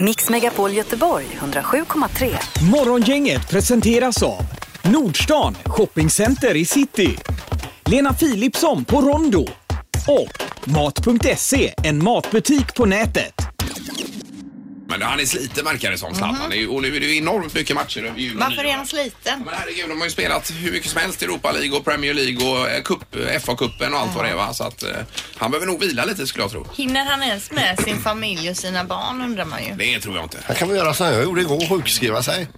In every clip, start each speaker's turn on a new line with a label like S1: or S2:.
S1: Mix Megapol Göteborg 107,3.
S2: Morgongänget presenteras av Nordstan Shoppingcenter i city. Lena Philipsson på Rondo. Och Mat.se, en matbutik på nätet.
S3: Men han är sliten verkar det som, Zlatan. Det är ju- Och nu är det ju enormt mycket matcher över jul och
S4: Mhm. Varför är
S3: nyår.
S4: han sliten?
S3: Men herregud, de har ju spelat hur mycket som helst i Europa League och Premier League och eh, cup, eh, FA-cupen och allt vad det är va. Så att eh, han behöver nog vila lite skulle jag tro.
S4: Hinner han ens med sin familj och sina barn undrar man ju.
S3: Det tror jag inte. Mm.
S5: Han kan väl göra som jag gjorde igår, sjukskriva sig.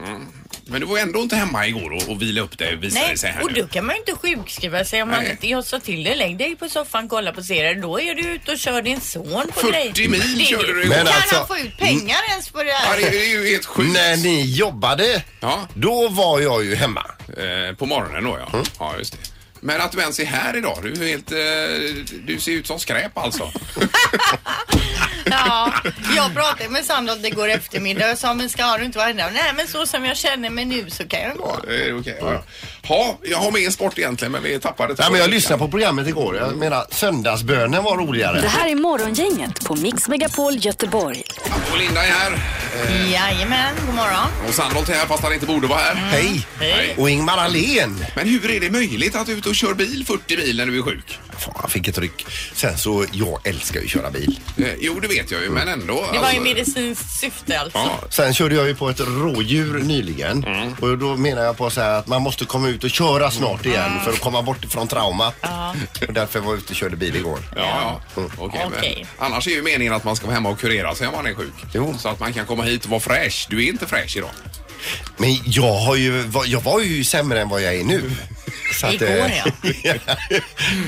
S3: Men du var ändå inte hemma igår och, och vila upp dig visade
S4: Nej,
S3: det sig här
S4: och
S3: nu.
S4: då kan man ju inte sjukskriva sig om man
S3: Nej.
S4: inte... Jag sa till dig, lägg dig på soffan, kolla på serier. Då är du ute och kör din son på
S3: 40 mil
S4: Det-
S3: körde du
S5: Men
S3: igår.
S4: Kan
S5: alltså-
S4: han få ut pengar ens på det
S3: Ja,
S4: här?
S3: det är- det är ju helt sjukt.
S5: När ni jobbade,
S3: Ja.
S5: då var jag ju hemma. Mm.
S3: Eh, på morgonen då ja. Ja, just det. Men att du ens är här idag, du är helt... Eh, du ser ut som skräp alltså.
S4: Ja, jag pratade med Sandholt igår eftermiddag och sa, men ska du inte vara här? Nej, men så som jag känner mig nu så kan jag gå.
S3: Ja, det är Eh, okej. Ja. Ja, jag har mer sport egentligen men vi tappade
S5: Nej, men jag lyssnade på programmet igår. Jag menar, söndagsbönen var
S1: Det
S5: roligare.
S1: här är Morgongänget på Mix Megapol Göteborg.
S3: Och Linda är här. Eh,
S4: Jajamän, god morgon.
S3: Och Sandholt är här fast han inte borde vara här.
S5: Hej!
S3: Hej.
S5: Och Ingmar Ahlén.
S3: Men hur är det möjligt att du är ute och kör bil 40 mil när du är sjuk?
S5: Fan, han fick ett ryck. Sen så, jag älskar ju att köra bil.
S3: Eh, jo, det vet jag ju, men ändå.
S4: Det var ju
S3: alltså.
S4: medicinskt syfte alltså.
S3: Ja, Mm.
S5: Sen körde jag ju på ett rådjur nyligen och då menar jag på så här att man måste komma ut och köra snart igen för att komma bort från traumat. Och därför var jag ute och körde bil igår. Mm.
S3: ja, ja. Okej, men
S4: Okej.
S3: Annars är ju meningen att man ska vara hemma och kurera sig om man är sjuk.
S5: Jo.
S3: Så att man kan komma hit och vara fräsch. Du är inte fräsch idag.
S5: Men jag, har ju, var- jag var ju sämre än vad jag är nu. Så att,
S4: Igår
S5: eh,
S4: ja.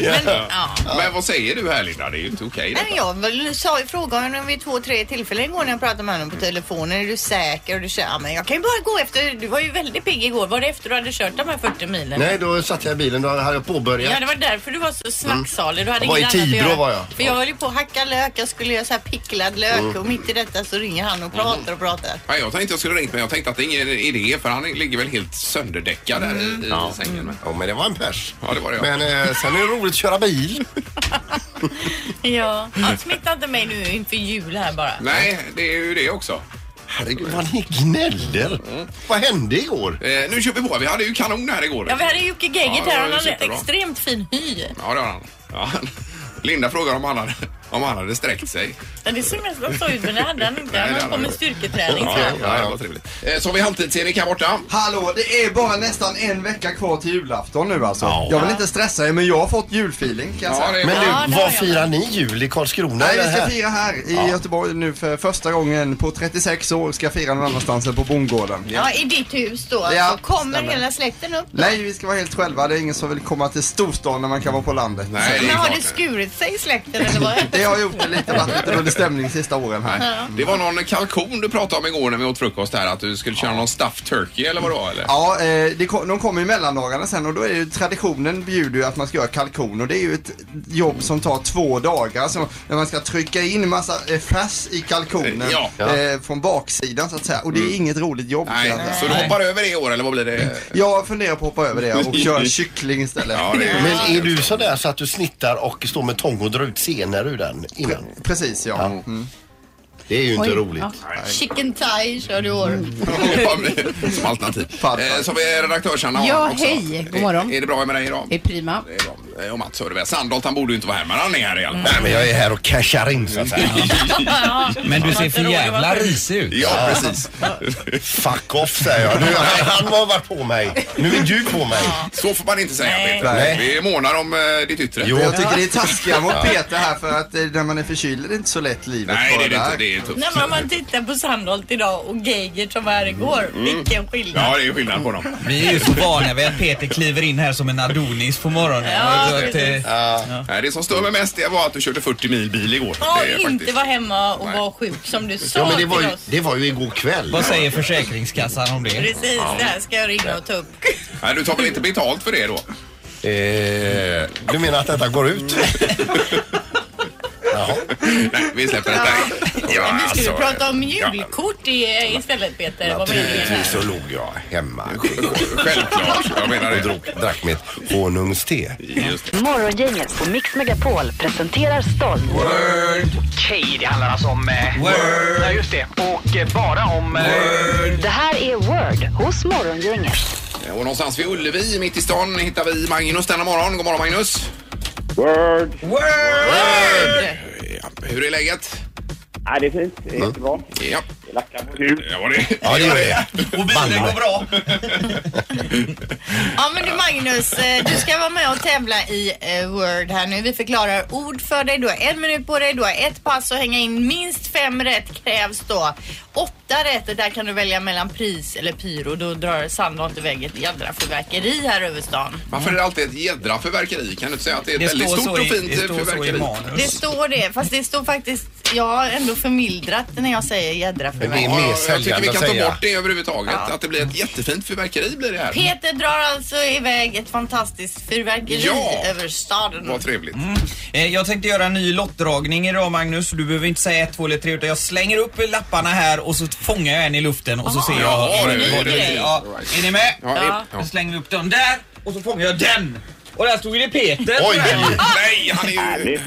S4: Men, ja.
S3: Men vad säger du här Linda? Det är ju inte okej
S4: Men
S3: detta.
S4: jag väl- sa ju frågade honom vid två, tre tillfällen igår när jag pratade med honom på telefonen. Är du säker? Och du sa, ja men jag kan ju bara gå efter. Du var ju väldigt pigg igår. Var det efter du hade kört de här 40 milen?
S5: Nej, då satt jag i bilen. Då hade jag påbörjat.
S4: Ja, det var därför du var så snacksalig. Du hade
S5: Jag var
S4: ingen
S5: i
S4: annan att
S5: Tibro
S4: göra.
S5: var jag.
S4: För jag höll ju på att hacka lök. Jag skulle göra så här picklad lök
S3: Mm.
S4: och mitt i detta så ringer han och pratar och pratar.
S3: Nej, jag tänkte jag skulle ringt men jag tänkte att det är ingen idé för han ligger väl helt sönderdäckad där i, i sängen. Men,
S5: Mm. Ja, men det var en pers.
S3: ja, det var det ja.
S5: Men eh, sen är det roligt att köra bil.
S4: Ja. ja smitta inte mig nu inför jul här bara.
S3: Nej, det är ju det också.
S5: Herregud, vad ni gnäller. Vad hände igår?
S3: Eh, nu kör vi på. Vi hade ju kanon här igår.
S4: Ja, vi hade Jocke Geigert
S3: Ja,
S4: här.
S3: det
S4: Han
S3: var
S4: hade
S3: ju superbra.
S4: extremt fin hy.
S3: Ja, det har han. Ja. Linda frågar om han hade, om han hade sträckt sig.
S4: Men Det ser nästan så ut, men det hade han inte.
S3: Nej,
S4: Han höll
S3: det
S4: på
S3: hade
S4: med
S3: han inte.
S4: styrketräning.
S3: Ja,
S4: så.
S3: ja, ja, det var trevligt. Eh, Så har vi halvtids-Erik här borta.
S6: Hallå, det är bara nästan en vecka kvar till julafton nu alltså. Jag vill inte stressa er men jag har fått julfeeling kan jag
S3: Ja,
S6: säga.
S3: det är...
S5: Men
S3: Men...
S5: du,
S4: Ja, det var
S5: vad
S4: jag.
S5: firar ni jul i Karlskrona?
S6: Nej, vi
S5: eller
S6: ska
S5: här?
S6: fira här i Göteborg nu för första gången på 36 år. Ska fira någon annanstans än på bondgården.
S4: Ja, i ditt hus då.
S6: Ja,
S4: alltså, kommer
S6: stämmer.
S4: hela släkten upp? då?
S6: Nej, vi ska vara helt själva. Det är ingen som vill komma till storstan när man kan vara på landet.
S3: Nej, det,
S4: Men
S3: är
S4: har
S3: klart.
S4: det skurit sig i släkten eller vad?
S6: Det har gjort det lite, varit lite dålig stämning sista åren här.
S3: det var någon kalkon du pratade om igår när vi åt frukost här. Att du skulle köra någon stuffed turkey eller vad det var eller?
S6: Ja, eh, det kom, de kommer i mellandagarna sen och då är ju traditionen bjuder ju att man ska göra kalkon och det är ju ett jobb som tar två dagar. Alltså, när man ska trycka in massa eh, färs i kalkonen
S3: Ja. Mm.
S6: eh, från baksidan så att säga. Och det är inget roligt jobb.
S3: Nej,
S6: kan jag säga.
S3: så du hoppar över det i år eller vad blir det?
S6: Jag funderar på att hoppa över det och köra kyckling istället.
S3: Ja, det är...
S5: Men är du sådär så att du snittar och står med tång och drar ut senor ur den innan?
S6: Precis ja. Mm.
S5: Det är ju inte roligt. Mm.
S4: Chicken thigh kör du i år.
S3: Hoppar med- Som alternativ.
S6: Farfar.
S3: Eh, Så vi är redaktörsarna
S7: Ja,
S3: också. Eh,
S7: hej. God morgon.
S3: Är, är det bra med dig idag?
S7: Det är prima.
S3: Det är bra. Eh, Och Mats hör du väl. Sandholt han borde ju inte vara här men han är här i alla fall.
S5: Nej, men jag är här och cashar in så att säga.
S8: Men du ser
S4: inte
S8: för
S4: rolig,
S8: jävla
S4: varför?
S8: risig ut.
S3: Ja, precis.
S5: Fuck off säger jag. Nu, han har varit på mig. Nu är du på mig.
S3: Så får man inte säga Peter.
S5: Nej.
S3: Vi är månar om eh, ditt yttre.
S5: Jo.
S6: Jag tycker det är taskiga mot Peter här för att eh, när man är förkyld är det inte så lätt livet
S3: Nej, det är det
S6: bara
S3: inte. Det är tufft.
S4: Nej, men om man tittar på Sandholt idag och Geigert som var här igår.
S5: Mm.
S4: Vilken skillnad.
S3: Ja, det är ju skillnad på dem.
S8: Vi är ju så vana vid att Peter kliver in här som en Adonis på morgonen.
S4: Ja,
S8: Så att, eh,
S4: precis.
S3: Nej, det som stör mig mest det var att du körde 40 mil bil igår.
S4: Ja,
S3: det är
S4: inte vara hemma och vara sjuk som du sa
S5: Ja, men det var
S4: till
S5: ju,
S4: oss.
S5: det var ju igår kväll.
S8: vad säger Försäkringskassan om det?
S4: Precis, det här ska jag ringa och ta upp.
S3: Nej, du tar väl inte betalt för det då?
S5: Eh, du menar att detta går ut?
S3: Nej, vi släpper det där. Ja,
S4: Men vi skulle
S3: alltså.
S4: prata om julkort i, istället Peter. Vad meningen
S5: Naturligtvis
S4: är.
S5: så låg jag hemma
S3: Självklart, jag menar
S5: och
S3: det.
S5: drog, drack mitt honungste.
S3: Just det.
S1: Morgongänget på Mix Megapol presenterar stolt.
S7: Okej, det handlar alltså om... Eh, Word. Ja, just det. Och eh, bara om... Eh,
S1: Det här är Word hos Morgongänget.
S3: Eh, Och någonstans vid Ullevi, mitt i stan, hittar vi Magnus denna morgon. God morgon Magnus!
S9: Word!
S3: Ja, hur är läget?
S9: Nej, det är fint. Det är jättebra.
S3: Ja,
S9: Det lackar på ljus.
S3: det var det.
S5: Mm. Ja, det gör det.
S8: Och bilen går bra.
S4: Ja men du Magnus, eh, du ska vara med och tävla i eh, Word här nu. Vi förklarar ord för dig. Du har en minut på dig, du har ett pass att hänga in. Minst fem rätt krävs då. Åtta rätt, där kan du välja mellan pris eller pyro. Då drar Sandholt iväg ett jädra fyrverkeri här över stan.
S3: Varför är det alltid ett jädra fyrverkeri? Kan du inte säga att det är ett
S8: Det
S3: väldigt
S8: står
S3: stort
S8: så
S3: och
S8: i,
S3: fint
S8: det står så i
S3: fyrverkeri?
S4: Det
S8: manus.
S4: står det, fast det står faktiskt, jag har ändå förmildrat när jag säger jädra
S5: Men det är
S4: fyrverkeri.
S5: mer
S3: Ja, jag tycker vi
S5: säljande att
S3: kan ta
S5: säga.
S3: bort det överhuvudtaget. Att det blir ett jättefint fyrverkeri blir det här.
S4: Peter drar alltså iväg ett fantastiskt fyrverkeri
S3: Ja.
S4: över staden.
S3: Vad trevligt.
S8: Eh, Jag tänkte göra en ny lottdragning idag Magnus. Du behöver inte säga ett, två eller tre utan jag slänger upp lapparna här och så fångar jag en i luften och så ser jag
S3: Jaha,
S8: vad
S3: det är
S8: vad
S3: en ny
S8: det
S3: grej.
S8: är. Ja, Är ni med?
S3: Ja, ja.
S8: Då slänger vi upp den där och så fångar jag den. Och där stod det Peter.
S5: Oj!
S3: Nej, han är ju...
S9: Härligt.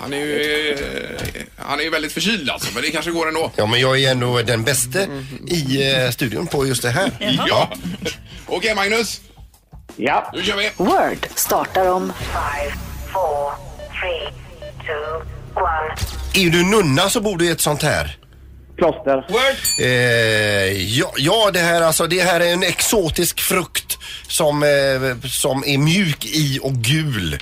S3: Han är ju, eh, han är ju väldigt förkyld alltså, men det kanske går ändå.
S5: Ja, men jag är ändå den bäste i eh, studion på just det här.
S3: Ja. Okej Magnus,
S9: Ja.
S3: nu kör vi.
S1: Word startar om
S5: Är du nunna så bor du i ett sånt här.
S9: Kloster.
S8: Word.
S5: Eh, ja, ja, det här alltså, det här är en exotisk frukt som, eh, som är mjuk i och gul.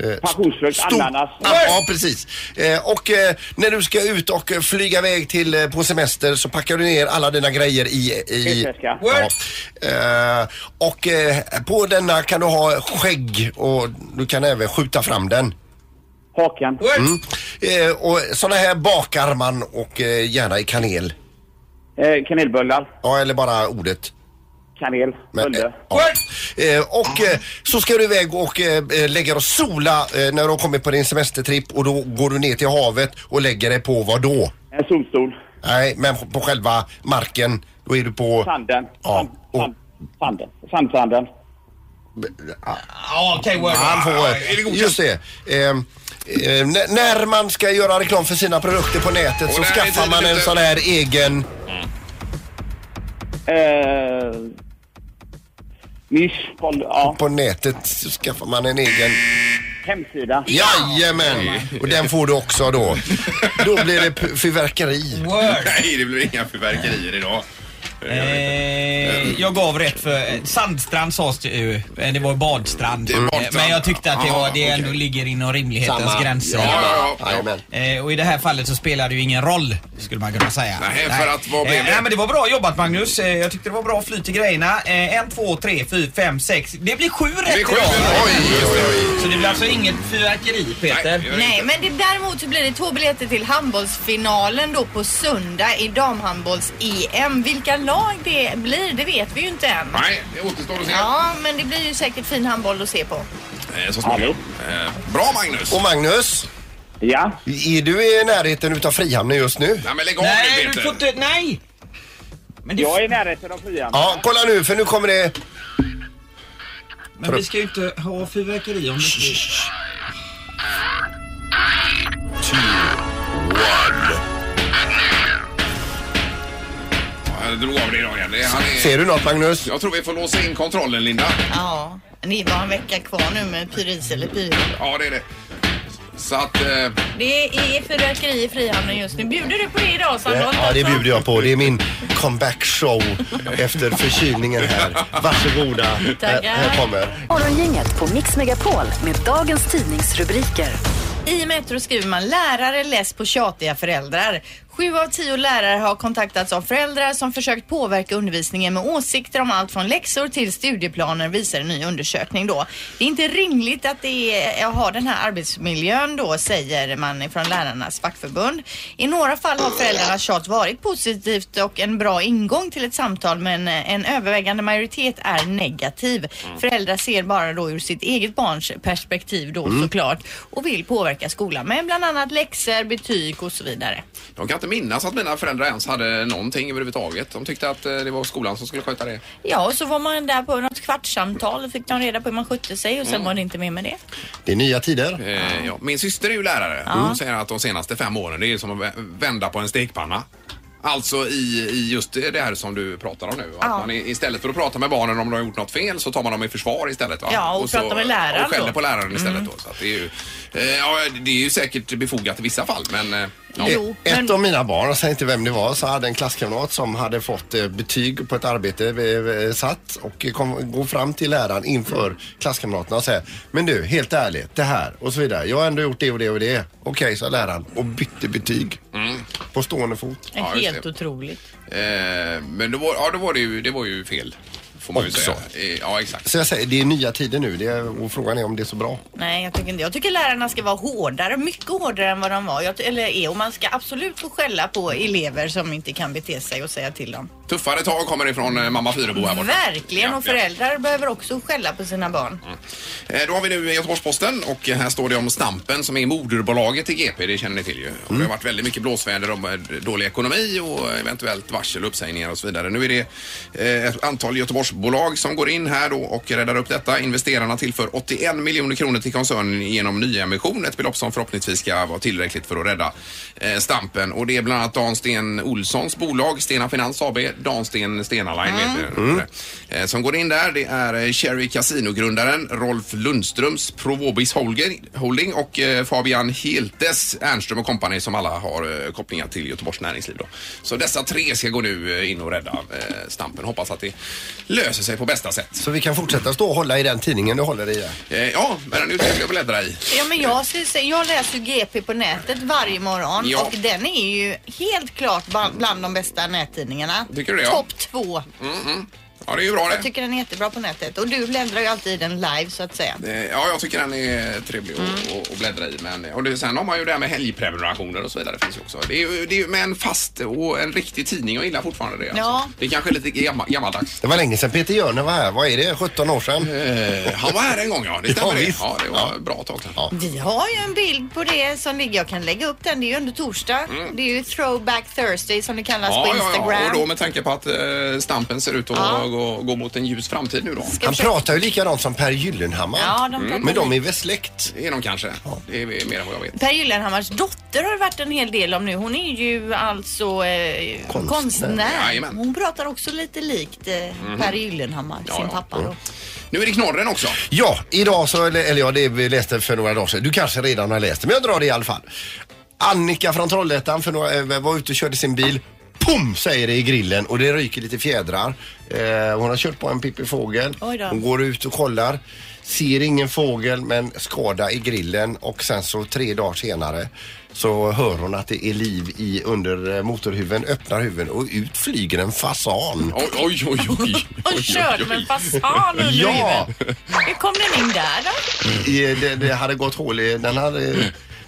S5: Eh,
S9: Passionsfrukt.
S5: Stor-
S9: Ananas.
S5: Ja, ja, precis. Eh, och eh, när du ska ut och eh, flyga iväg till, eh, på semester så packar du ner alla dina grejer i... i
S9: Resväska.
S5: ja. eh, och eh, på denna kan du ha skägg och du kan även skjuta fram den.
S9: Hakan.
S3: Mm.
S5: Eh, och såna här bakar man och eh, gärna i kanel.
S9: Eh, kanelbullar.
S5: Ja, eller bara ordet.
S9: Kanel.
S5: Men, eh,
S9: Bulle.
S5: ja. eh, och eh, så ska du iväg och eh, eh, lägga dig och sola eh, när du har kommit på din semestertripp och då går du ner till havet och lägger dig på vad då?
S9: En solstol.
S5: Nej, men på själva marken. Då är du på...
S9: Sanden.
S5: Ja,
S9: Sand,
S5: och-
S9: sand, sanden. Sandsanden.
S8: Ja, okej Word.
S5: ah. Han får...
S3: är det godkänt?
S5: Just det. Ehm, ehm, n- när man ska göra reklam för sina produkter på nätet så
S3: där är
S5: skaffar
S3: tiden
S5: man en
S3: ute.
S5: sån här egen...
S9: Eh, nisch. Boll, ja.
S5: På nätet så skaffar man en egen...
S9: Hemsida.
S5: Jajamän! Och den får du också då. Då blir det p- fyrverkeri.
S8: Word.
S3: Nej, det blir inga fyrverkerier idag.
S8: Eh, jag gav rätt för sandstrand sades det ju. Eh, Det var ju badstrand.
S3: Det är badstrand.
S8: Eh, Men jag tyckte att det, var, det
S3: Ah, okej.
S8: ändå ligger inom rimlighetens
S5: Samma.
S8: gränser.
S3: Ja, ja, ja.
S5: Jajamän.
S8: Eh, och i det här fallet så spelar det ju ingen roll, skulle man kunna säga.
S3: Nej, för att vad blev
S8: eh,
S3: det?
S8: Nej, men det var bra jobbat Magnus. Eh, jag tyckte det var bra flyt i grejerna. Eh, en, två, tre, fyra, fem, sex. Det blir sju rätt
S3: Det är sjukt.
S8: idag.
S3: Oj, oj, oj.
S8: Så det blir alltså inget fyrverkeri Peter.
S3: Nej,
S4: Nej, men det, däremot så blir det två biljetter till handbollsfinalen då på söndag i damhandbolls-EM. Vilka lag det blir, det vet vi ju inte än.
S3: Nej, det återstår att se
S4: Ja, men det blir ju säkert fin handboll att se på.
S3: eh, så småningom. Eh, Bra Magnus!
S5: Och Magnus,
S9: Ja.
S5: är du i närheten utav Frihamnen just nu?
S3: Nej, men lägg av nu
S8: Nej,
S3: Peter.
S8: du får inte... Nej! Men, det,
S9: Jag är i närheten av fyran.
S5: Ja, kolla nu för nu kommer det...
S8: men vi ska ju inte ha fyrverkeri om det inte...
S5: Typ.
S3: Ja, Jag drog av det idag igen. Det- Han
S5: Ser
S3: är...
S5: du något Magnus?
S3: Jag tror vi får låsa in kontrollen Linda.
S4: Ja, det är bara en vecka kvar nu med pyris eller pyro.
S3: Ja, det är det. Så att... Eh,
S4: Det är fyrverkeri i Frihamnen just nu. Bjuder du på det idag, Sandholt?
S5: Ja, det
S4: alltså?
S5: bjuder jag på. Det är min comeback show efter förkylningen här. Varsågoda. Eh, Här, här kommer.
S1: Morgongänget på Mix Megapol med dagens tidningsrubriker.
S4: I Metro skriver man lärare less på tjatiga föräldrar. Sju av tio lärare har kontaktats av föräldrar som försökt påverka undervisningen med åsikter om allt från läxor till studieplaner visar en ny undersökning då. Det är inte rimligt att det är, har den här arbetsmiljön då säger man från lärarnas fackförbund. I några fall har föräldrarnas tjat varit positivt och en bra ingång till ett samtal men en övervägande majoritet är negativ. Föräldrar ser bara då ur sitt eget barns perspektiv då
S3: Mm.
S4: såklart och vill påverka skolan med bland annat läxor, betyg och så vidare.
S3: De kan inte minnas att mina föräldrar ens hade någonting överhuvudtaget. De tyckte att eh, det var skolan som skulle sköta det.
S4: Ja, och så var man där på något kvartssamtal och fick de reda på hur man skötte sig och sen
S3: Mm.
S4: var det inte mer med det.
S5: Det är nya tider.
S3: Eh, ja. Min syster är ju lärare. Hon säger att de senaste fem åren det är som att vä- vända på en stekpanna. Alltså i, i just det här som du pratar om nu. Att
S4: Ja.
S3: man i- istället för att prata med barnen om de har gjort något fel så tar man dem i försvar istället. Va?
S4: Ja, och
S3: så-
S4: pratar med läraren
S3: Och skäller
S4: då. Mm.
S3: på läraren istället. Då, så att det, är ju, eh, ja, det är ju säkert befogat i vissa fall men... eh, Ja.
S4: Jo, men
S5: Ett av mina barn, jag säger inte vem det var, så hade en klasskamrat som hade fått eh, betyg på ett arbete eh, eh, satt och kom, går fram till läraren inför klasskamraterna och säger Men du, helt ärligt, det här och så vidare. Jag har ändå gjort det och det och det. Okej, sa läraren och bytte betyg. På stående fot.
S3: Mm. Ja, just
S4: helt
S3: det.
S4: otroligt.
S3: Eh, men då var, ja, då var det, ju, det var ju fel. Får man ju
S5: Också.
S3: säga. Eh, Ja, exakt.
S5: Så jag säger, det är nya tider nu det är, och frågan är om det är så bra.
S4: Nej, jag tycker inte. Jag tycker lärarna ska vara hårdare, mycket hårdare än vad de var. Jag, ty- eller är. Och man ska absolut få skälla på elever som inte kan bete sig och säga till dem.
S3: Tuffare tag kommer ifrån eh, mamma Fyrebo här borta.
S4: Verkligen,
S3: Ja,
S4: och
S3: ja.
S4: föräldrar behöver också skälla på sina barn.
S3: Eh, Då har vi nu Göteborgs-Posten och här står det om Stampen som är moderbolaget i GP, det känner ni till ju. Och det har varit väldigt mycket blåsväder om eh, dålig ekonomi och eventuellt varsel och uppsägningar och så vidare. Nu är det eh, ett antal Göteborgsbolag som går in här då och räddar upp detta. Investerarna tillför 81 miljoner kronor till koncernen genom nyemission, ett belopp som förhoppningsvis ska vara tillräckligt för att rädda eh, Stampen. Och det är bland annat Dan Sten Olssons bolag, Stena Finans AB, Dan Sten Stena Line vet ni. Eh, Som går in där, det är eh, Cherry Casino-grundaren Rolf Lundströms Provobis Holger- Holding och eh, Fabian Hiltes Ernström och Company som alla har eh, kopplingar till Göteborgs näringsliv. Då. Så dessa tre ska gå nu eh, in och rädda eh, Stampen. Hoppas att det löser sig på bästa sätt.
S5: Så vi kan fortsätta stå och hålla i den tidningen du håller i. där.
S3: Eh, Ja, men den är ju trevlig att bläddra i.
S4: Ja, men jag, ser- ser- jag läser ju GP på nätet varje morgon
S3: Ja.
S4: och den är ju helt klart ba- bland de bästa nättidningarna.
S3: Tycker du det, ja?
S4: Topp två.
S3: Mm-hmm. Ja, det är ju bra det.
S4: Jag tycker den är jättebra på nätet och du bläddrar ju alltid i den live så att säga.
S3: Eh, Ja, jag tycker den är trevlig
S4: Mm.
S3: att att- att bläddra i. Men, och det, sen har man ju det här med helgprenumerationer och så vidare. Finns ju också. Det är, ju- det är ju med en fast och en riktig tidning. Jag gillar fortfarande det. alltså.
S4: Ja.
S3: Det kanske är lite gammal, gammaldags.
S5: Det var länge sedan Peter Jörne var här. Vad är det? 17 år sedan?
S3: Eh, Han var här en gång, ja. Det stämmer.
S5: Ja,
S3: det.
S5: visst.
S3: ja, det var ett bra tag sedan.
S5: Ja.
S4: Vi har ju en bild på det som ligger, jag kan lägga upp den, det är ju under torsdag. Det är ju Throwback Thursday som det kallas
S3: Mm. Ja,
S4: på
S3: ja,
S4: Instagram.
S3: ja, och då med tanke på att eh, Stampen ser ut att gå, gå mot en ljus framtid nu då.
S4: Ska
S5: Han
S4: försöka-
S5: pratar ju likadant som Per Gyllenhammar. Mm.
S4: Ja, de pratar
S5: Men de är väl släkt?
S3: Det är de kanske. Det är mer än vad jag vet.
S4: Per Gyllenhammars dotter har det varit en hel del om nu. Hon är ju alltså eh, konstnär.
S5: Konstnär.
S3: Jajamän. Mhm.
S4: Hon pratar också lite likt eh, Per Gyllenhammar,
S3: Ja,
S4: sin
S3: ja.
S4: pappa då.
S3: Nu är det knorren också.
S5: Ja, idag så, eller, eller ja, det vi läste för några dagar sedan. Du kanske redan har läst det, men jag drar det i alla fall. Annika från Trollhättan för några, eh, var ute och körde sin bil. Pum säger det i grillen och det ryker lite fjädrar. Eh, hon har kört på en pippifågel.
S4: Oj då.
S5: Hon går ut och kollar. Ser ingen fågel men skada i grillen och sen så tre dagar senare så hör hon att det är liv i under eh, motorhuven, öppnar huven och ut flyger en fasan.
S3: Oj, oj, oj. oj, oj,
S4: Och körde med en fasan under
S5: Ja!
S4: Hur kom den in där då?
S5: I, det, det hade gått hål i, den hade,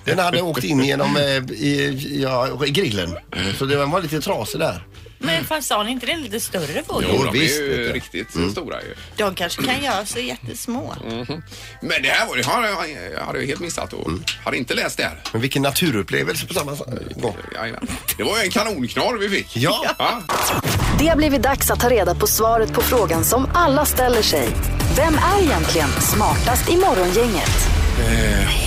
S5: den hade åkt in genom eh, i, ja, i grillen. Så den var lite trasig där.
S4: Men fasan, är inte det en lite större fågel?
S3: Jo,
S5: Jo,
S3: de är
S5: visst,
S3: ju
S5: vet Mm. jag.
S3: riktigt stora ju. Mhm.
S4: De kanske kan göra sig jättesmå.
S3: Men det här var, det har jag, jag hade ju helt missat och hade inte läst det här.
S5: Mm.
S3: Eh,
S5: Men vilken naturupplevelse på samma gång.
S3: Jajamän. Det var ju en kanonknorr vi fick.
S5: Ja.
S3: ja.
S1: Det har blivit dags att ta reda på svaret på frågan som alla ställer sig. Vem är egentligen smartast i morgongänget?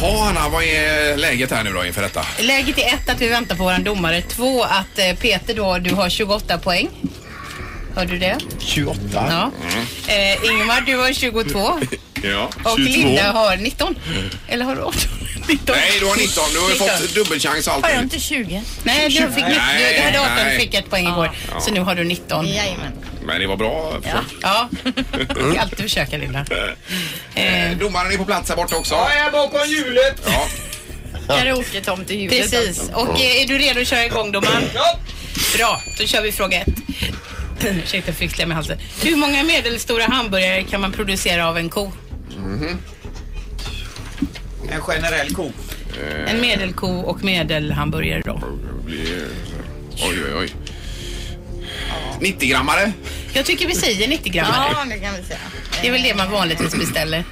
S3: Jaha, Anna, Eh, vad är läget här nu då inför detta?
S10: Läget är ett att vi väntar på våran domare. Två att eh, Peter då, du har 28 poäng. Hör du det?
S5: 28.
S10: Ja. Eh, Ingmar, du har 22.
S3: Mm. Ja,
S10: Och Linda har 19. Eller har du 18? 19.
S3: Nej, du har 19. Du har ju
S10: 19.
S3: fått dubbelchans och allt.
S4: Har jag inte 20?
S10: Nej, du, fick, nitt-
S3: Nej,
S10: du hade 18
S3: nej.
S10: och fick ett poäng igår. Så nu har du 19.
S4: Jajamän.
S3: Men det var bra.
S10: Ja, ja. Du ska alltid försöka Linda. Eh,
S3: Eh, Domaren är på plats här borta också.
S8: Jag är bakom hjulet!
S3: Ja.
S4: Karaoke-tomteljudet.
S10: Precis. Och eh, är du redo att köra igång domaren? Bra, då kör vi fråga ett. Ursäkta, jag fick slem i halsen. Hur många medelstora hamburgare kan man producera av en ko?
S3: Mhm.
S8: En generell ko.
S3: Eh.
S10: En medelko och medelhamburgare då.
S3: Blir- Oj, oj, oj. 90-grammare.
S10: Jag tycker vi säger 90 gram.
S4: Ja, det kan vi säga.
S10: Det är väl det man vanligtvis beställer.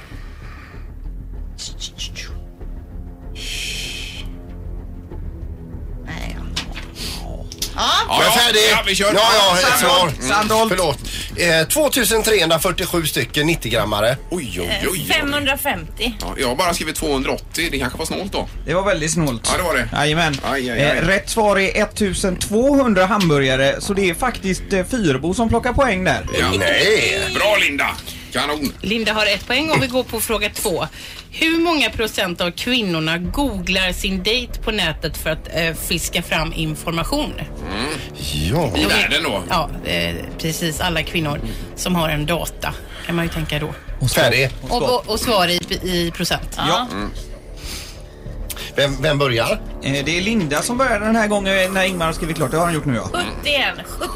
S4: Nej, ja.
S3: Ja,
S5: Jag är
S3: ja,
S5: färdig.
S3: ja, vi kör.
S5: Ja, ja, ett svar. Mm.
S6: Sandholt, Sandholt.
S5: Förlåt. Eh, 2347 stycken 90-grammare.
S3: Oj, oj, oj.
S4: 550.
S3: Ja, jag har bara skrivit 280. Det kanske var snålt då.
S8: Det var väldigt snålt.
S3: Ja, det var det.
S8: Jajamän.
S3: Aj, aj, aj.
S8: Eh, Rätt svar är 1200 hamburgare, så det är faktiskt eh, Fyrebo som plockar poäng där.
S3: Ja. Nej. Bra Linda. Kanon.
S10: Linda har ett poäng och vi går på fråga två. Hur många procent av kvinnorna googlar sin dejt på nätet för att eh, fiska fram information?
S5: Ja.
S3: I världen då.
S10: Ja, eh, precis. Alla kvinnor som har en data kan man ju tänka då.
S5: Färdig.
S10: Och, och, och svar i, i procent.
S8: Ja.
S3: Mm.
S5: Vem, vem börjar?
S8: Eh, Det är Linda som börjar den här gången när Ingmar har skrivit klart. Det har han gjort nu ja.
S4: 71,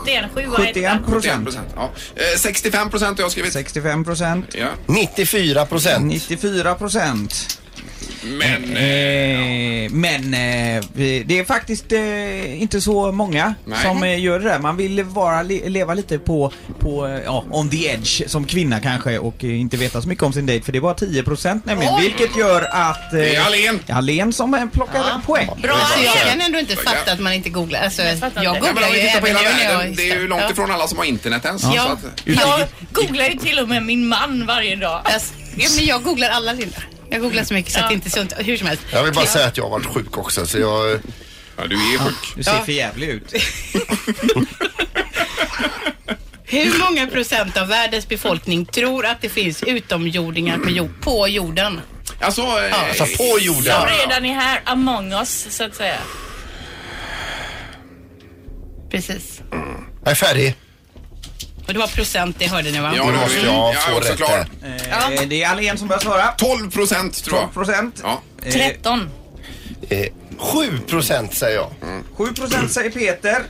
S4: 71, 7
S8: 71
S3: 1
S8: procent.
S3: procent. Ja. Eh, 65 procent har jag skrivit.
S8: 65 procent.
S3: Ja.
S5: 94 procent.
S8: 94 procent.
S3: Men... eh,
S8: Eh, men eh, vi- det är faktiskt eh, inte så många
S3: Nej.
S8: som eh, gör det där. Man vill vara, le, leva lite på, på eh, ja, on the edge som kvinna kanske och eh, inte veta så mycket om sin dejt för det är bara 10% nämligen.
S4: Oj!
S8: Vilket gör att... Eh,
S3: Det är Allén.
S8: Allén som eh, plockar poäng.
S10: Bra, alltså, jag
S3: Ja.
S10: kan ändå inte fatta att man inte googlar. Alltså, jag
S4: fattar inte.
S10: googlar
S3: Ja, men om
S10: ju
S3: vi tittar på
S10: även
S3: hela
S10: nu när jag
S3: världen. Det är ju långt
S10: Ja.
S3: ifrån alla som har internet ens. Så
S10: Ja.
S3: att,
S4: Jag googlar ju till och med min man varje dag.
S10: Alltså, ja, men jag googlar alla Linda. Jag googlar så mycket så att det inte är sunt. Hur som helst.
S5: Jag vill bara säga att jag har varit sjuk också så jag...
S3: ja, du är sjuk.
S8: Du ser
S10: Ja.
S8: för jävlig ut.
S10: Hur många procent av världens befolkning tror att det finns utomjordingar på, jord, på jorden?
S3: Alltså, eh,
S5: Alltså på jorden.
S4: redan är här among us, så att säga.
S10: Precis.
S5: Jag är färdig.
S10: Och det var procent, det hörde ni va?
S3: Ja, det
S5: måste jag få
S3: också
S5: rätt
S3: klar.
S5: här.
S8: Eh, det är Allén som börjar svara.
S3: 12 procent tror
S8: 12
S3: jag.
S8: procent.
S3: Ja.
S4: 13.
S5: Eh, 7 procent säger jag.
S8: 7% säger Peter.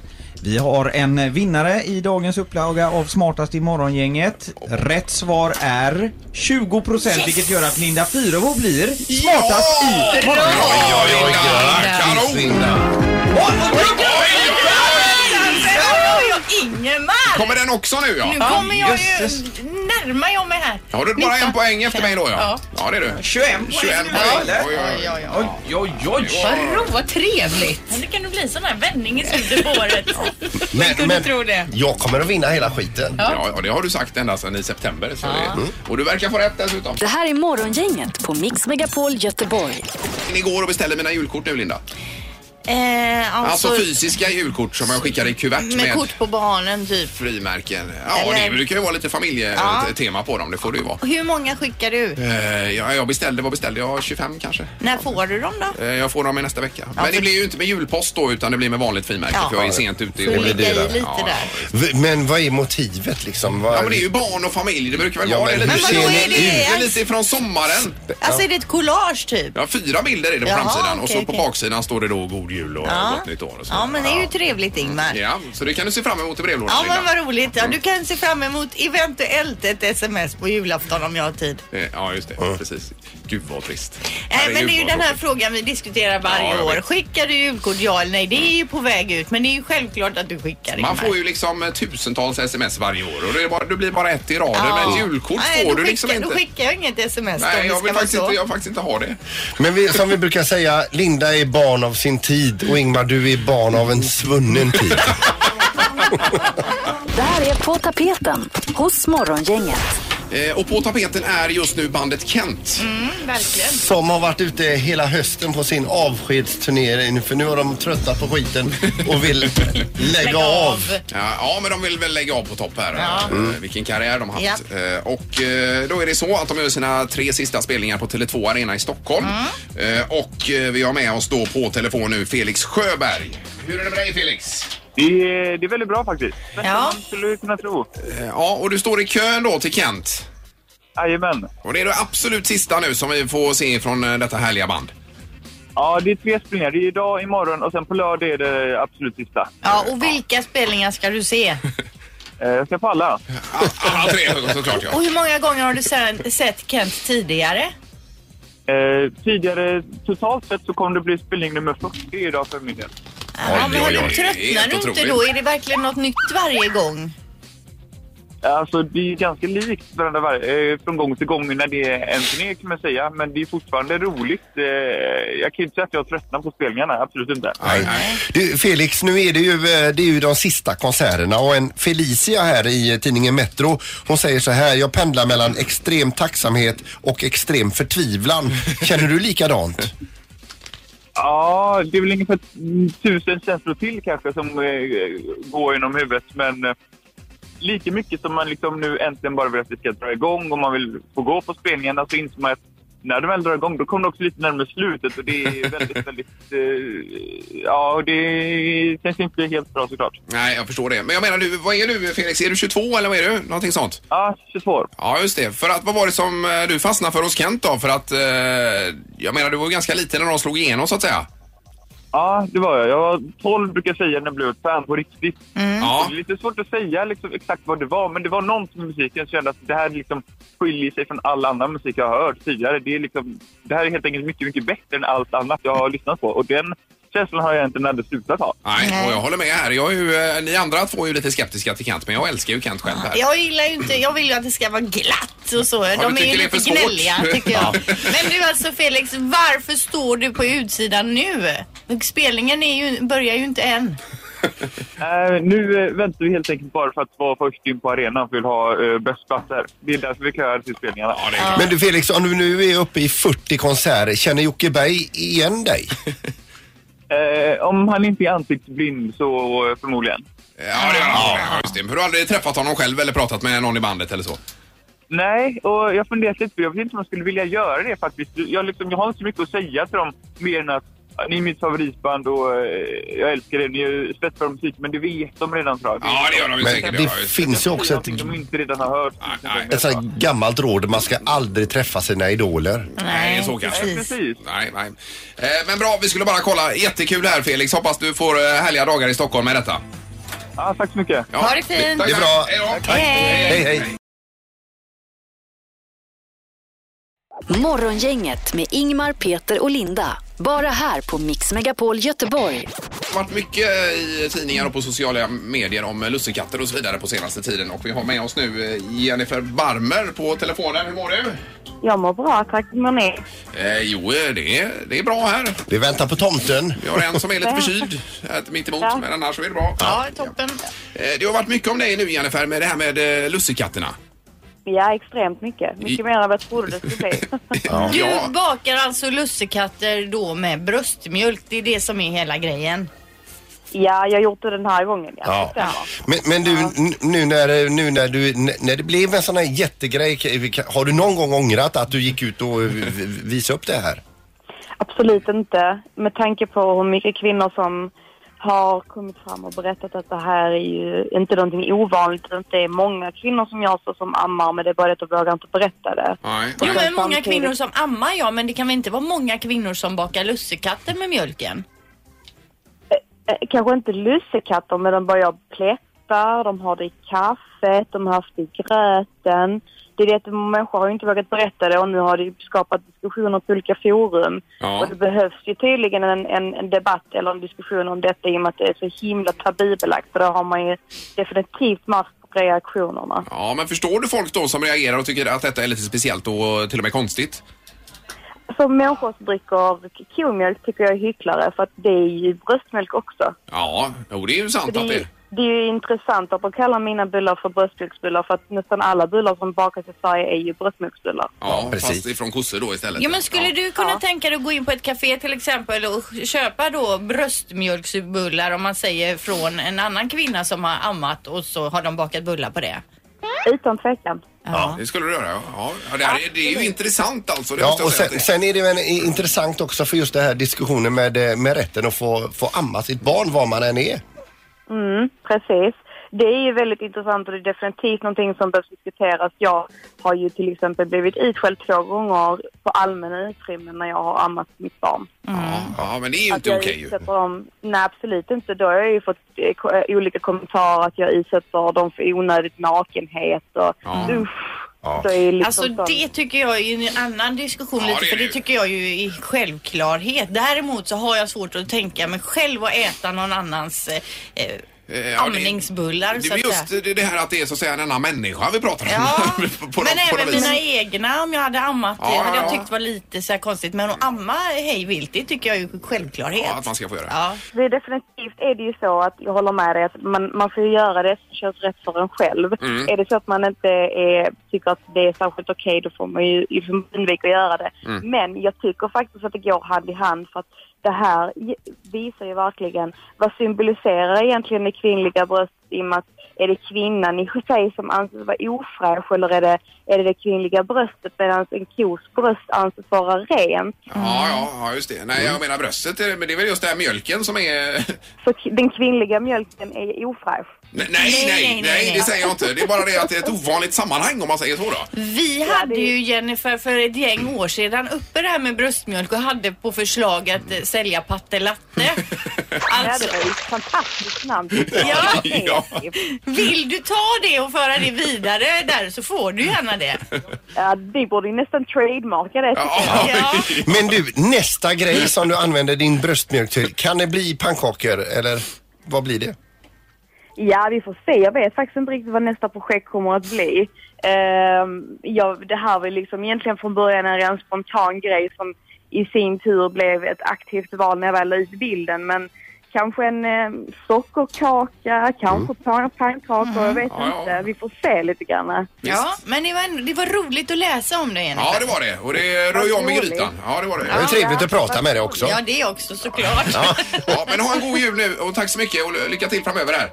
S8: Vi har en vinnare i dagens upplaga av Smartast i morgongänget. Rätt svar är 20% vilket gör att Linda Fyrebo blir smartast i morgongänget.
S3: Oj, oj, oj, kanon!
S4: Ingemar!
S3: Kommer den också nu
S4: Nu
S3: ja?
S4: kommer jag ju...
S8: jösses.
S4: Närmar jag mig här.
S3: Har du bara en
S4: Nitton,
S3: poäng efter mig då ja?
S4: Ja.
S3: Ja, det är du.
S8: 21
S3: 21
S8: poäng
S3: poäng.
S8: eller?
S3: Oj, oj, oj.
S8: Oj, oj, oj.
S10: Vad roligt, vad trevligt.
S4: Men det kan ju bli sån här vändning i slutet på året.
S5: Men,
S10: kunde tro det.
S5: jag kommer att vinna hela skiten. Mm.
S3: Ja, ja, det har du sagt ända sedan i september. Så det, och du verkar få rätt dessutom.
S1: Det här är Morgongänget på Mix Megapol Göteborg.
S3: In igår och beställde mina julkort nu Linda.
S4: Eh,
S3: Alltså fysiska julkort som jag skickade i kuvert med,
S4: med kort på barnen typ.
S3: frimärken. Ja,
S4: Eller-
S3: det brukar ju vara lite familjetema på dem. Det får det ju vara.
S4: Hur många skickar du?
S3: Eh, ja, jag beställde, vad beställde jag? 25 kanske?
S4: När får du dem då?
S3: Eh, Jag får dem i nästa vecka.
S4: Ja,
S3: Men det
S4: för-
S3: blir ju inte med julpost då utan det blir med vanligt frimärke
S4: Ja.
S3: för jag är sent ute. i
S4: Får
S3: år.
S5: blir
S4: ligga i
S5: dyrare.
S4: lite
S3: Ja.
S4: där.
S5: V- Men vad är motivet liksom? Vad-
S3: Ja men det är ju barn och familj, det brukar väl
S5: Ja,
S3: vara det.
S5: men
S3: lite.
S5: hur ser
S4: Men vadå,
S5: ni
S4: är det-
S5: ut?
S3: Det är lite från sommaren.
S4: Alltså är det ett collage typ?
S3: Ja, fyra bilder är det på
S4: Jaha,
S3: framsidan och
S4: okej,
S3: så på
S4: okej.
S3: baksidan står det då God Jul och
S4: Ja.
S3: Gott Nytt År och så.
S4: Ja men det är ju trevligt Ingmar.
S3: Ja, så det Mm. kan du se fram emot i brevlådan.
S4: Ja
S3: Linda.
S4: men vad roligt. Ja, du kan se fram emot eventuellt ett sms på julafton om jag har tid.
S3: Eh, Ja, just det. Precis. Gud vad trist.
S4: Nej Eh, men
S3: Herregud,
S4: det är ju
S3: vad
S4: den här
S3: tråkigt.
S4: frågan vi diskuterar
S3: Ja,
S4: varje
S3: jag
S4: år.
S3: vet.
S4: Skickar du julkort ja eller nej? Det är ju på väg ut men det är ju självklart att du skickar Ingmar.
S3: Man får ju liksom eh, tusentals sms varje år och det, är bara, det blir bara ett i raden.
S4: Ja.
S3: Men julkort
S4: Nej,
S3: får
S4: då
S3: du liksom
S4: skickar,
S3: inte.
S4: Då skickar jag inget sms då, om
S3: Nej,
S4: det
S3: jag
S4: ska
S3: vill
S4: vara
S3: faktiskt
S4: så.
S3: inte, jag vill faktiskt inte ha det.
S5: Men vi, som vi brukar säga, Linda är barn av sin tid och Ingmar du är barn av en svunnen tid.
S1: Det här är På tapeten hos Morgongänget.
S3: Eh, och på tapeten är just nu bandet Kent.
S4: Mm, Verkligen.
S5: Som har varit ute hela hösten på sin avskedsturné för nu har de tröttnat på skiten och vill lägga av.
S3: Ja, ja, men de vill väl lägga av på topp här. Eh, vilken karriär de har haft. Eh, och eh, då är det så att de gör sina tre sista spelningar på Tele2 Arena i Stockholm. Eh, och eh, vi har med oss då på telefon nu Felix Sjöberg. Hur är det med dig Felix?
S9: Det är, det är väldigt bra faktiskt.
S4: Ja.
S9: Det skulle du kunna tro.
S3: Eh, ja, och du står i kön då till Kent.
S9: Jajamän.
S3: Och det är det absolut sista nu som vi får se från eh, detta härliga band.
S9: Ja, det är tre spelningar. Det är idag, imorgon och sen på lördag är det absolut sista.
S4: Ja, och vilka spelningar ska du se?
S9: Eh, Jag ska på alla.
S3: Alla tre såklart ja.
S4: Och hur många gånger har du sen, sett Kent tidigare?
S9: Eh, Tidigare, totalt sett, så kommer det bli spelning nummer 40 idag för min del.
S4: Ja, men har
S9: oj,
S4: du
S9: oj.
S4: tröttnar
S9: Helt
S4: du inte
S9: otroligt.
S4: då? Är det verkligen något nytt varje gång?
S9: Alltså, det är ganska likt varandra varje, eh, från gång till gång när det är en turné kan man säga. Men det är fortfarande roligt. Eh, Jag kan inte säga att jag tröttnar på spelningarna, absolut inte.
S5: Du, Felix, nu är det, ju, eh, det är ju de sista konserterna och en Felicia här i eh, tidningen Metro, hon säger så här, jag pendlar mellan extrem tacksamhet och extrem förtvivlan. Känner du likadant?
S9: Ja, det är väl ungefär tusen känslor till kanske som eh, går genom huvudet. Men eh, lika mycket som man liksom nu äntligen bara vill att det ska dra igång och man vill få gå på spelningarna så inser man att när det väl drar igång då kommer det också lite närmare slutet och det är väldigt, väldigt... Eh, ja, och det känns inte helt bra såklart.
S3: Nej, jag förstår det. Men jag menar, du, vad är du Felix? Är du 22 eller vad är du? Någonting sånt?
S9: Ja, 22.
S3: Ja, just det. För att vad var det som eh, du fastnade för hos Kent då? För att, eh, jag menar, du var ju ganska liten när de slog igenom så att säga.
S9: Ja, det var jag. Jag var 12 brukar jag säga när jag blev ett fan på riktigt.
S3: Ja.
S9: Det är lite svårt att säga liksom, exakt vad det var, men det var någonting med musiken som kände att det här liksom skiljer sig från all annan musik jag har hört tidigare. Det, är liksom, det här är helt enkelt mycket, mycket bättre än allt annat jag har lyssnat på och den känslan har jag egentligen aldrig slutat ha.
S3: Nej, och jag håller med här. Jag är ju, eh, ni andra två är ju lite skeptiska till Kent, men jag älskar ju Kent själv här.
S4: Jag gillar ju inte, jag vill ju att det ska vara glatt och så.
S3: Ja, du
S4: De är
S3: tycker
S4: ju
S3: det är
S4: lite
S3: för svårt.
S4: gnälliga tycker jag. Men du alltså Felix, varför står du på utsidan nu? Spelningen är ju, börjar ju inte än.
S9: Eh, nu eh, väntar vi helt enkelt bara för att vara först in på arenan för vi vill ha uh, bäst platser. Det är därför vi köar till spelningarna.
S5: Men du Felix, om du nu är uppe i 40 konserter, känner Jocke Berg igen dig?
S9: Eh, om han inte är ansiktsblind så eh, förmodligen.
S3: Ja, det gör han. Ja, just det. För du har aldrig träffat honom själv eller pratat med någon i bandet eller så?
S9: Nej, och jag funderar lite på Jag vet inte om jag skulle vilja göra det faktiskt. Jag, liksom, jag har inte så mycket att säga till dem mer än att ja, ni är mitt favoritband och eh, jag älskar er. Ni är ju spetsbra musik, men det vet de redan tror jag.
S3: Ja, det gör de ju
S5: Men
S3: säkert.
S5: det
S3: gör de ju.
S5: finns ju också ett,
S9: Någonting de inte redan har hört.
S5: ett sånt gammalt råd, man ska aldrig träffa sina idoler.
S3: Nej, det är så kanske.
S9: precis. Precis.
S3: Nej, nej. Eh, Men bra, vi skulle bara kolla. Jättekul här Felix. Hoppas du får eh, härliga dagar i Stockholm med detta.
S9: Ja, tack så mycket.
S3: Ja,
S4: Ha det fint.
S3: tack.
S5: Det är bra.
S3: Hej då.
S5: Hej, hej.
S1: Morgongänget med Ingmar, Peter och Linda. Bara här på Mix Megapol Göteborg.
S3: Det har varit mycket eh, i tidningar och på sociala medier om eh, lussekatter och så vidare på senaste tiden. Och vi har med oss nu eh, Jennifer Barmer på telefonen. Hur mår du?
S11: Jag mår bra, tack. Hur mår ni?
S3: Eh, jo, eh, det är, det är bra här.
S5: Vi väntar på tomten.
S3: Vi har en som är lite förkyld här mitt emot, men annars så är det bra.
S4: Ja, toppen.
S3: Eh, det har varit mycket om dig nu Jennifer med det här med eh, lussekatterna.
S11: Ja, extremt mycket. Mycket mer än vad jag trodde det skulle bli.
S4: Du bakar alltså lussekatter då med bröstmjölk. Det är det som är hela grejen.
S11: ja, jag har gjort det den här gången. Ja.
S5: Ja.
S11: det stämmer.
S5: Men, men du, n- nu, när, nu när, du, n- när det blev en sån här jättegrej, k- vi kan- har du någon gång ångrat att du gick ut och eh, v- v- visade upp det här?
S11: Absolut inte. Med tanke på hur mycket kvinnor som har kommit fram och berättat att det här är ju inte någonting ovanligt. utan Det är många kvinnor som jag så som ammar men det är bara det att de vågar inte berätta det.
S3: Nej.
S4: Jo, men många
S11: Samtidigt-
S4: kvinnor som ammar ja, men det kan väl inte vara många kvinnor som bakar lussekatter med mjölken?
S11: Eh, Kanske inte lussekatter men de börjar plättar, de har det i kaffet, de har haft det i gröten. Det är det att människor har ju inte vågat berätta det och nu har det ju skapat diskussioner på olika forum.
S3: Ja.
S11: Och det behövs ju tydligen en, en, en debatt eller en diskussion om detta i och med att det är så himla tabubelagt. Så där har man ju definitivt märkt reaktionerna.
S3: Ja, men förstår du folk då som reagerar och tycker att detta är lite speciellt och till och med konstigt?
S11: Som människor som dricker komjölk tycker jag är hycklare för att det är ju bröstmjölk också.
S3: Ja, jo, det är ju sant
S11: Det
S3: att det
S11: är, det är ju intressant att de kallar mina bullar för bröstmjölksbullar för att nästan alla bullar som bakas i Sverige är ju bröstmjölksbullar.
S3: Ja,
S5: precis.
S3: fast ifrån kossor då istället.
S4: Ja, men skulle
S3: typ, Ja.
S4: du kunna tänka dig att gå in på ett café till exempel och köpa då bröstmjölksbullar om man säger från en annan kvinna som har ammat och så har de bakat bullar på det?
S11: Utan tvekan.
S3: Ja, det skulle du göra. Ja, ja det, här, är- det är ju intressant alltså. Det
S5: Ja,
S3: måste jag
S5: och
S3: säga
S5: sen,
S3: att
S5: sen är det väl i- intressant också för just den här diskussionen med, eh, med rätten att få, få amma sitt barn var man än är.
S11: Mm, precis. Det är ju väldigt intressant och det är definitivt någonting som behövs diskuteras. Jag har ju till exempel blivit utskälld två gånger på allmänna utrymmen när jag har ammat mitt barn.
S3: Ja, men det är ju
S11: Att
S3: inte
S11: jag
S3: okej ju.
S11: utsätter dem, nej absolut inte. Då har jag ju fått eh, ko- eh, olika kommentarer att jag utsätter dem för onödigt nakenhet och usch. Så är liksom
S4: alltså
S11: sån-
S4: det tycker jag är ju en annan diskussion lite för det tycker jag ju är självklarhet. Däremot så har jag svårt att tänka mig själv att äta någon annans eh, eh,
S3: Eh, ja, det-
S4: amningsbullar
S3: Det
S4: så
S3: är
S4: att
S3: just
S4: säga.
S3: det- det här att det är så att säga en annan människa vi pratar om.
S4: Ja,
S3: på, på,
S4: Men
S3: på
S4: även
S3: något vis.
S4: mina egna om jag hade ammat
S3: Ja,
S4: det hade
S3: ja,
S4: jag
S3: ja.
S4: tyckt var lite så här konstigt. Men att amma hej vilt det tycker jag är ju självklarhet.
S3: Ja, att man ska få göra.
S11: Det är definitivt är det ju så att jag håller med dig att man, man får ju göra det som känns rätt för en själv.
S3: Mm.
S11: Är det så att man inte är, tycker att det är särskilt okej då får man ju liksom undvika att göra det.
S12: Mm.
S11: Men jag tycker faktiskt att det går hand i hand för att det här ge- visar ju verkligen vad symboliserar egentligen det kvinnliga bröstet i och med att är det kvinnan i sig som anses vara ofräsch eller är det, är det det kvinnliga bröstet medan en kos bröst anses vara rent?
S3: Ja, ja, ja, just det. Nej,
S5: Mm.
S3: jag menar bröstet, är det- men det är väl just det här mjölken som är...
S11: Så k- den kvinnliga mjölken är ofräsch.
S3: Nej, nej, nej, nej, det säger jag inte. Det är bara det att det är ett ovanligt sammanhang om man säger så då.
S4: Vi hade ju Jennifer för ett gäng år sedan uppe det här med bröstmjölk och hade på förslag att eh, sälja patte latte. Alltså.
S11: Ja, det var ju ett fantastiskt namn.
S4: Ja.
S3: Ja.
S4: Vill du ta det och föra det vidare där så får du gärna det.
S11: Ja, vi borde ju nästan trademarka det.
S5: Men du, nästa grej som du använder din bröstmjölk till, kan det bli pannkakor eller vad blir det?
S11: Ja, vi får se. Jag vet faktiskt inte riktigt vad nästa projekt kommer att bli. Ehm, ja, det här var ju liksom egentligen från början en ren spontan grej som i sin tur blev ett aktivt val när jag väl la ut bilden. Men kanske en eh, sockerkaka, kanske pan- pannkakor, jag
S3: Mm.
S11: vet
S3: Ja, ja.
S11: inte. Vi får se lite grann.
S4: Ja, men det var, ändå, det var roligt att läsa om det Jennifer.
S3: Ja, det var det. Och det rör ju om i grytan. Ja, det var det.
S5: Det var trevligt att prata med dig också.
S4: Ja, det också såklart.
S3: Ja. ja, men ha en god jul nu och tack så mycket och lycka till framöver här.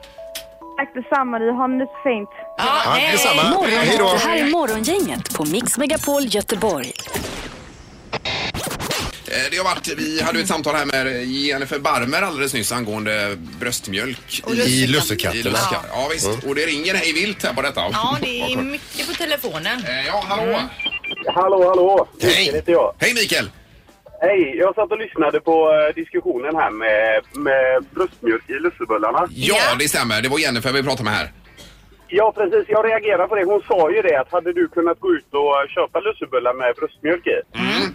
S11: Tack detsamma, du har det så fint.
S3: Ja, hej. detsamma.
S1: Morgon.
S3: Hej då.
S1: Det här är Morgongänget på Mix Megapol Göteborg.
S3: Eh, Det har varit, vi hade ju ett samtal här med Jennifer Barmer alldeles nyss angående bröstmjölk
S4: Och lussekatter. I
S5: lussekatterna.
S3: I lussekatter. Ja, visst.
S5: Mm.
S3: Och det ringer hej vilt här på detta.
S4: Ja, det är mycket på telefonen.
S3: Eh,
S4: Mm.
S3: Ja, hallå.
S13: Hallå, hallå! Mikael
S3: Hej!
S13: heter jag.
S3: Hej Mikael!
S13: Hej! Jag satt och lyssnade på eh, diskussionen här med, med bröstmjölk i lussebullarna.
S3: Ja, det stämmer. Det var Jennifer vi pratade med här.
S13: Ja, precis. Jag reagerar på det. Hon sa ju det att hade du kunnat gå ut och köpa lussebullar med bröstmjölk i?
S3: Mm.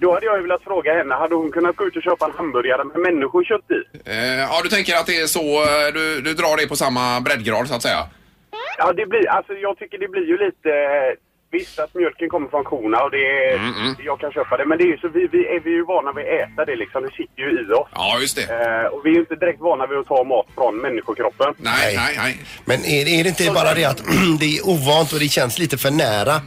S13: Då hade jag ju velat fråga henne, hade hon kunnat gå ut och köpa en hamburgare med människokött i?
S3: Eh, ja, du tänker att det är så, eh, du, du drar det på samma breddgrad så att säga?
S13: Ja, det blir, alltså jag tycker det blir ju lite... eh, Visst att mjölken kommer från korna och det är,
S3: Mm,
S13: jag kan köpa det, men det är ju så, vi, vi är vi är ju vana vid att äta det liksom, det sitter ju i oss.
S3: Ja, just det.
S13: Eh, och vi är ju inte direkt vana vid att ta mat från människokroppen.
S3: Nej, nej, nej.
S5: Men är, är det inte bara det att det är ovant och det känns lite för nära?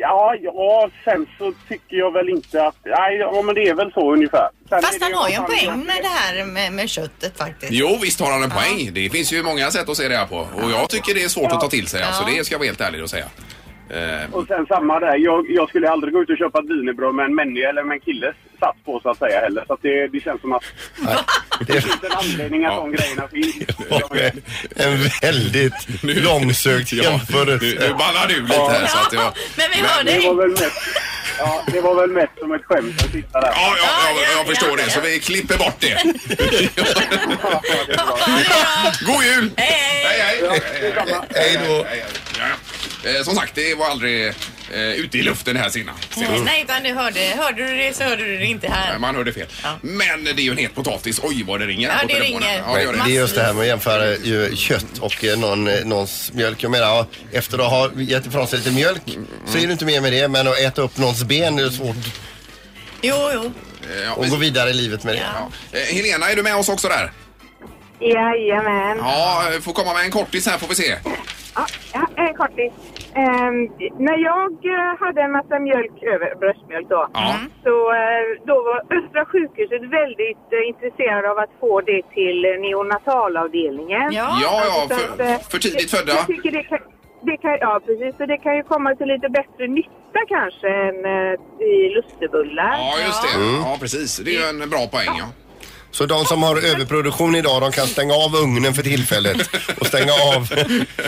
S13: Ja, ja, sen så tycker jag väl inte att... Nej, ja, men det är väl så ungefär. Sen är
S4: Fast
S13: det
S4: han har ju en
S13: något annat.
S4: poäng med det här med, med köttet faktiskt.
S3: Jo, visst har han en poäng. Det finns ju många sätt att se det här på. Och jag tycker det är svårt att ta till sig. Alltså,
S13: Ja.
S3: det ska jag vara helt ärlig och säga. Eh,
S13: Och sen samma där. Jag, jag skulle aldrig gå ut och köpa ett wienerbröd med en människa eller med en killes sats på så att säga heller. Så att det, det känns som att... Det finns en anledning att de grejerna finns.
S5: En väldigt långsökt jämförelse.
S3: nu, nu ballar du lite här så att jag...
S4: Men vi
S3: hör dig.
S13: Det var väl mest, ja, det var väl mest som ett skämt att sitta där.
S3: Ja, ja, jag, jag förstår det, så vi klipper bort det. God jul! Hej, hej! Hej då! Som sagt, det var aldrig eh, ute i luften här sina.
S4: Nej, Mm. Nej, utan du hörde, hörde du det så hörde du det inte
S3: Nej,
S4: här.
S3: Man hörde fel. Men det är ju en het potatis. Oj, vad det ringer här
S4: Ja,
S3: på
S4: det
S3: telefonen.
S4: ringer.
S3: Ja, det gör
S5: Men det är just det här med att jämföra ju kött och eh, någon, eh, någons mjölk. Jag menar, ja, efter att ha gett ifrån sig lite mjölk
S3: Mm,
S5: så är du inte mer med det. Men att äta upp någons ben är svårt
S4: Jo, jo.
S3: Ja,
S5: att gå vidare i livet med det.
S3: Eh, Helena, är du med oss också där?
S12: Jajamän.
S3: Ja, eh, får komma med en kortis här får vi se.
S12: Ja, en kortis. Ehm, när jag eh, hade en massa mjölk över, bröstmjölk då, så eh, då var Östra sjukhuset väldigt eh, intresserade av att få det till eh, neonatalavdelningen.
S3: Ja. Ja, ja,
S12: Alltså, så
S3: för-
S12: att, eh,
S3: för tidigt
S12: jag-
S3: födda.
S12: Jag tycker det kan, det kan, ja, precis. Så det kan ju komma till lite bättre nytta kanske än eh, i lustebullar.
S3: Ja, just det. Ja, precis. Det är ju en bra poäng. Ja.
S5: Så de som har överproduktion idag de kan stänga av ugnen för tillfället och stänga av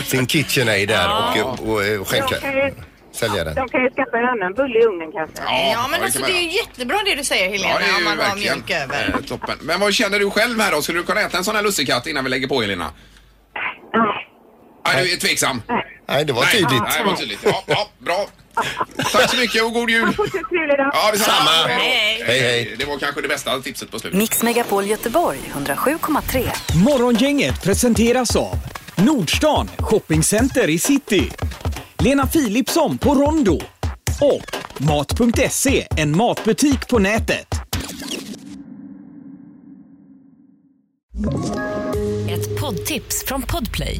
S5: sin KitchenAid där och, och, och skänka,
S12: De kan ju,
S5: sälja den.
S12: de kan ju skaffa en annan bulle i ugnen kanske.
S4: Ja, men alltså det är ju jättebra det du säger Helena,
S3: Ja, det är
S4: om
S3: ju
S4: man har
S3: verkligen
S4: mjölk över.
S3: eh, toppen. Men vad känner du själv här då? Skulle du kunna äta en sån här lussekatt innan vi lägger på Helena? Nej, du är tveksam.
S5: Nej, det var
S3: Nej,
S5: tydligt.
S3: Nej, det var tydligt. Ja, ja, bra. Tack så mycket och god jul.
S12: Fortsätt trevlig dag.
S3: Ja, detsamma.
S1: Hej.
S3: hej, hej. Det var kanske det bästa tipset på slutet.
S1: Mix Megapol Göteborg 107,3.
S8: Morgongänget presenteras av Nordstan Shoppingcenter i city. Lena Philipsson på Rondo. Och Mat.se, en matbutik på nätet.
S14: Ett poddtips från Podplay.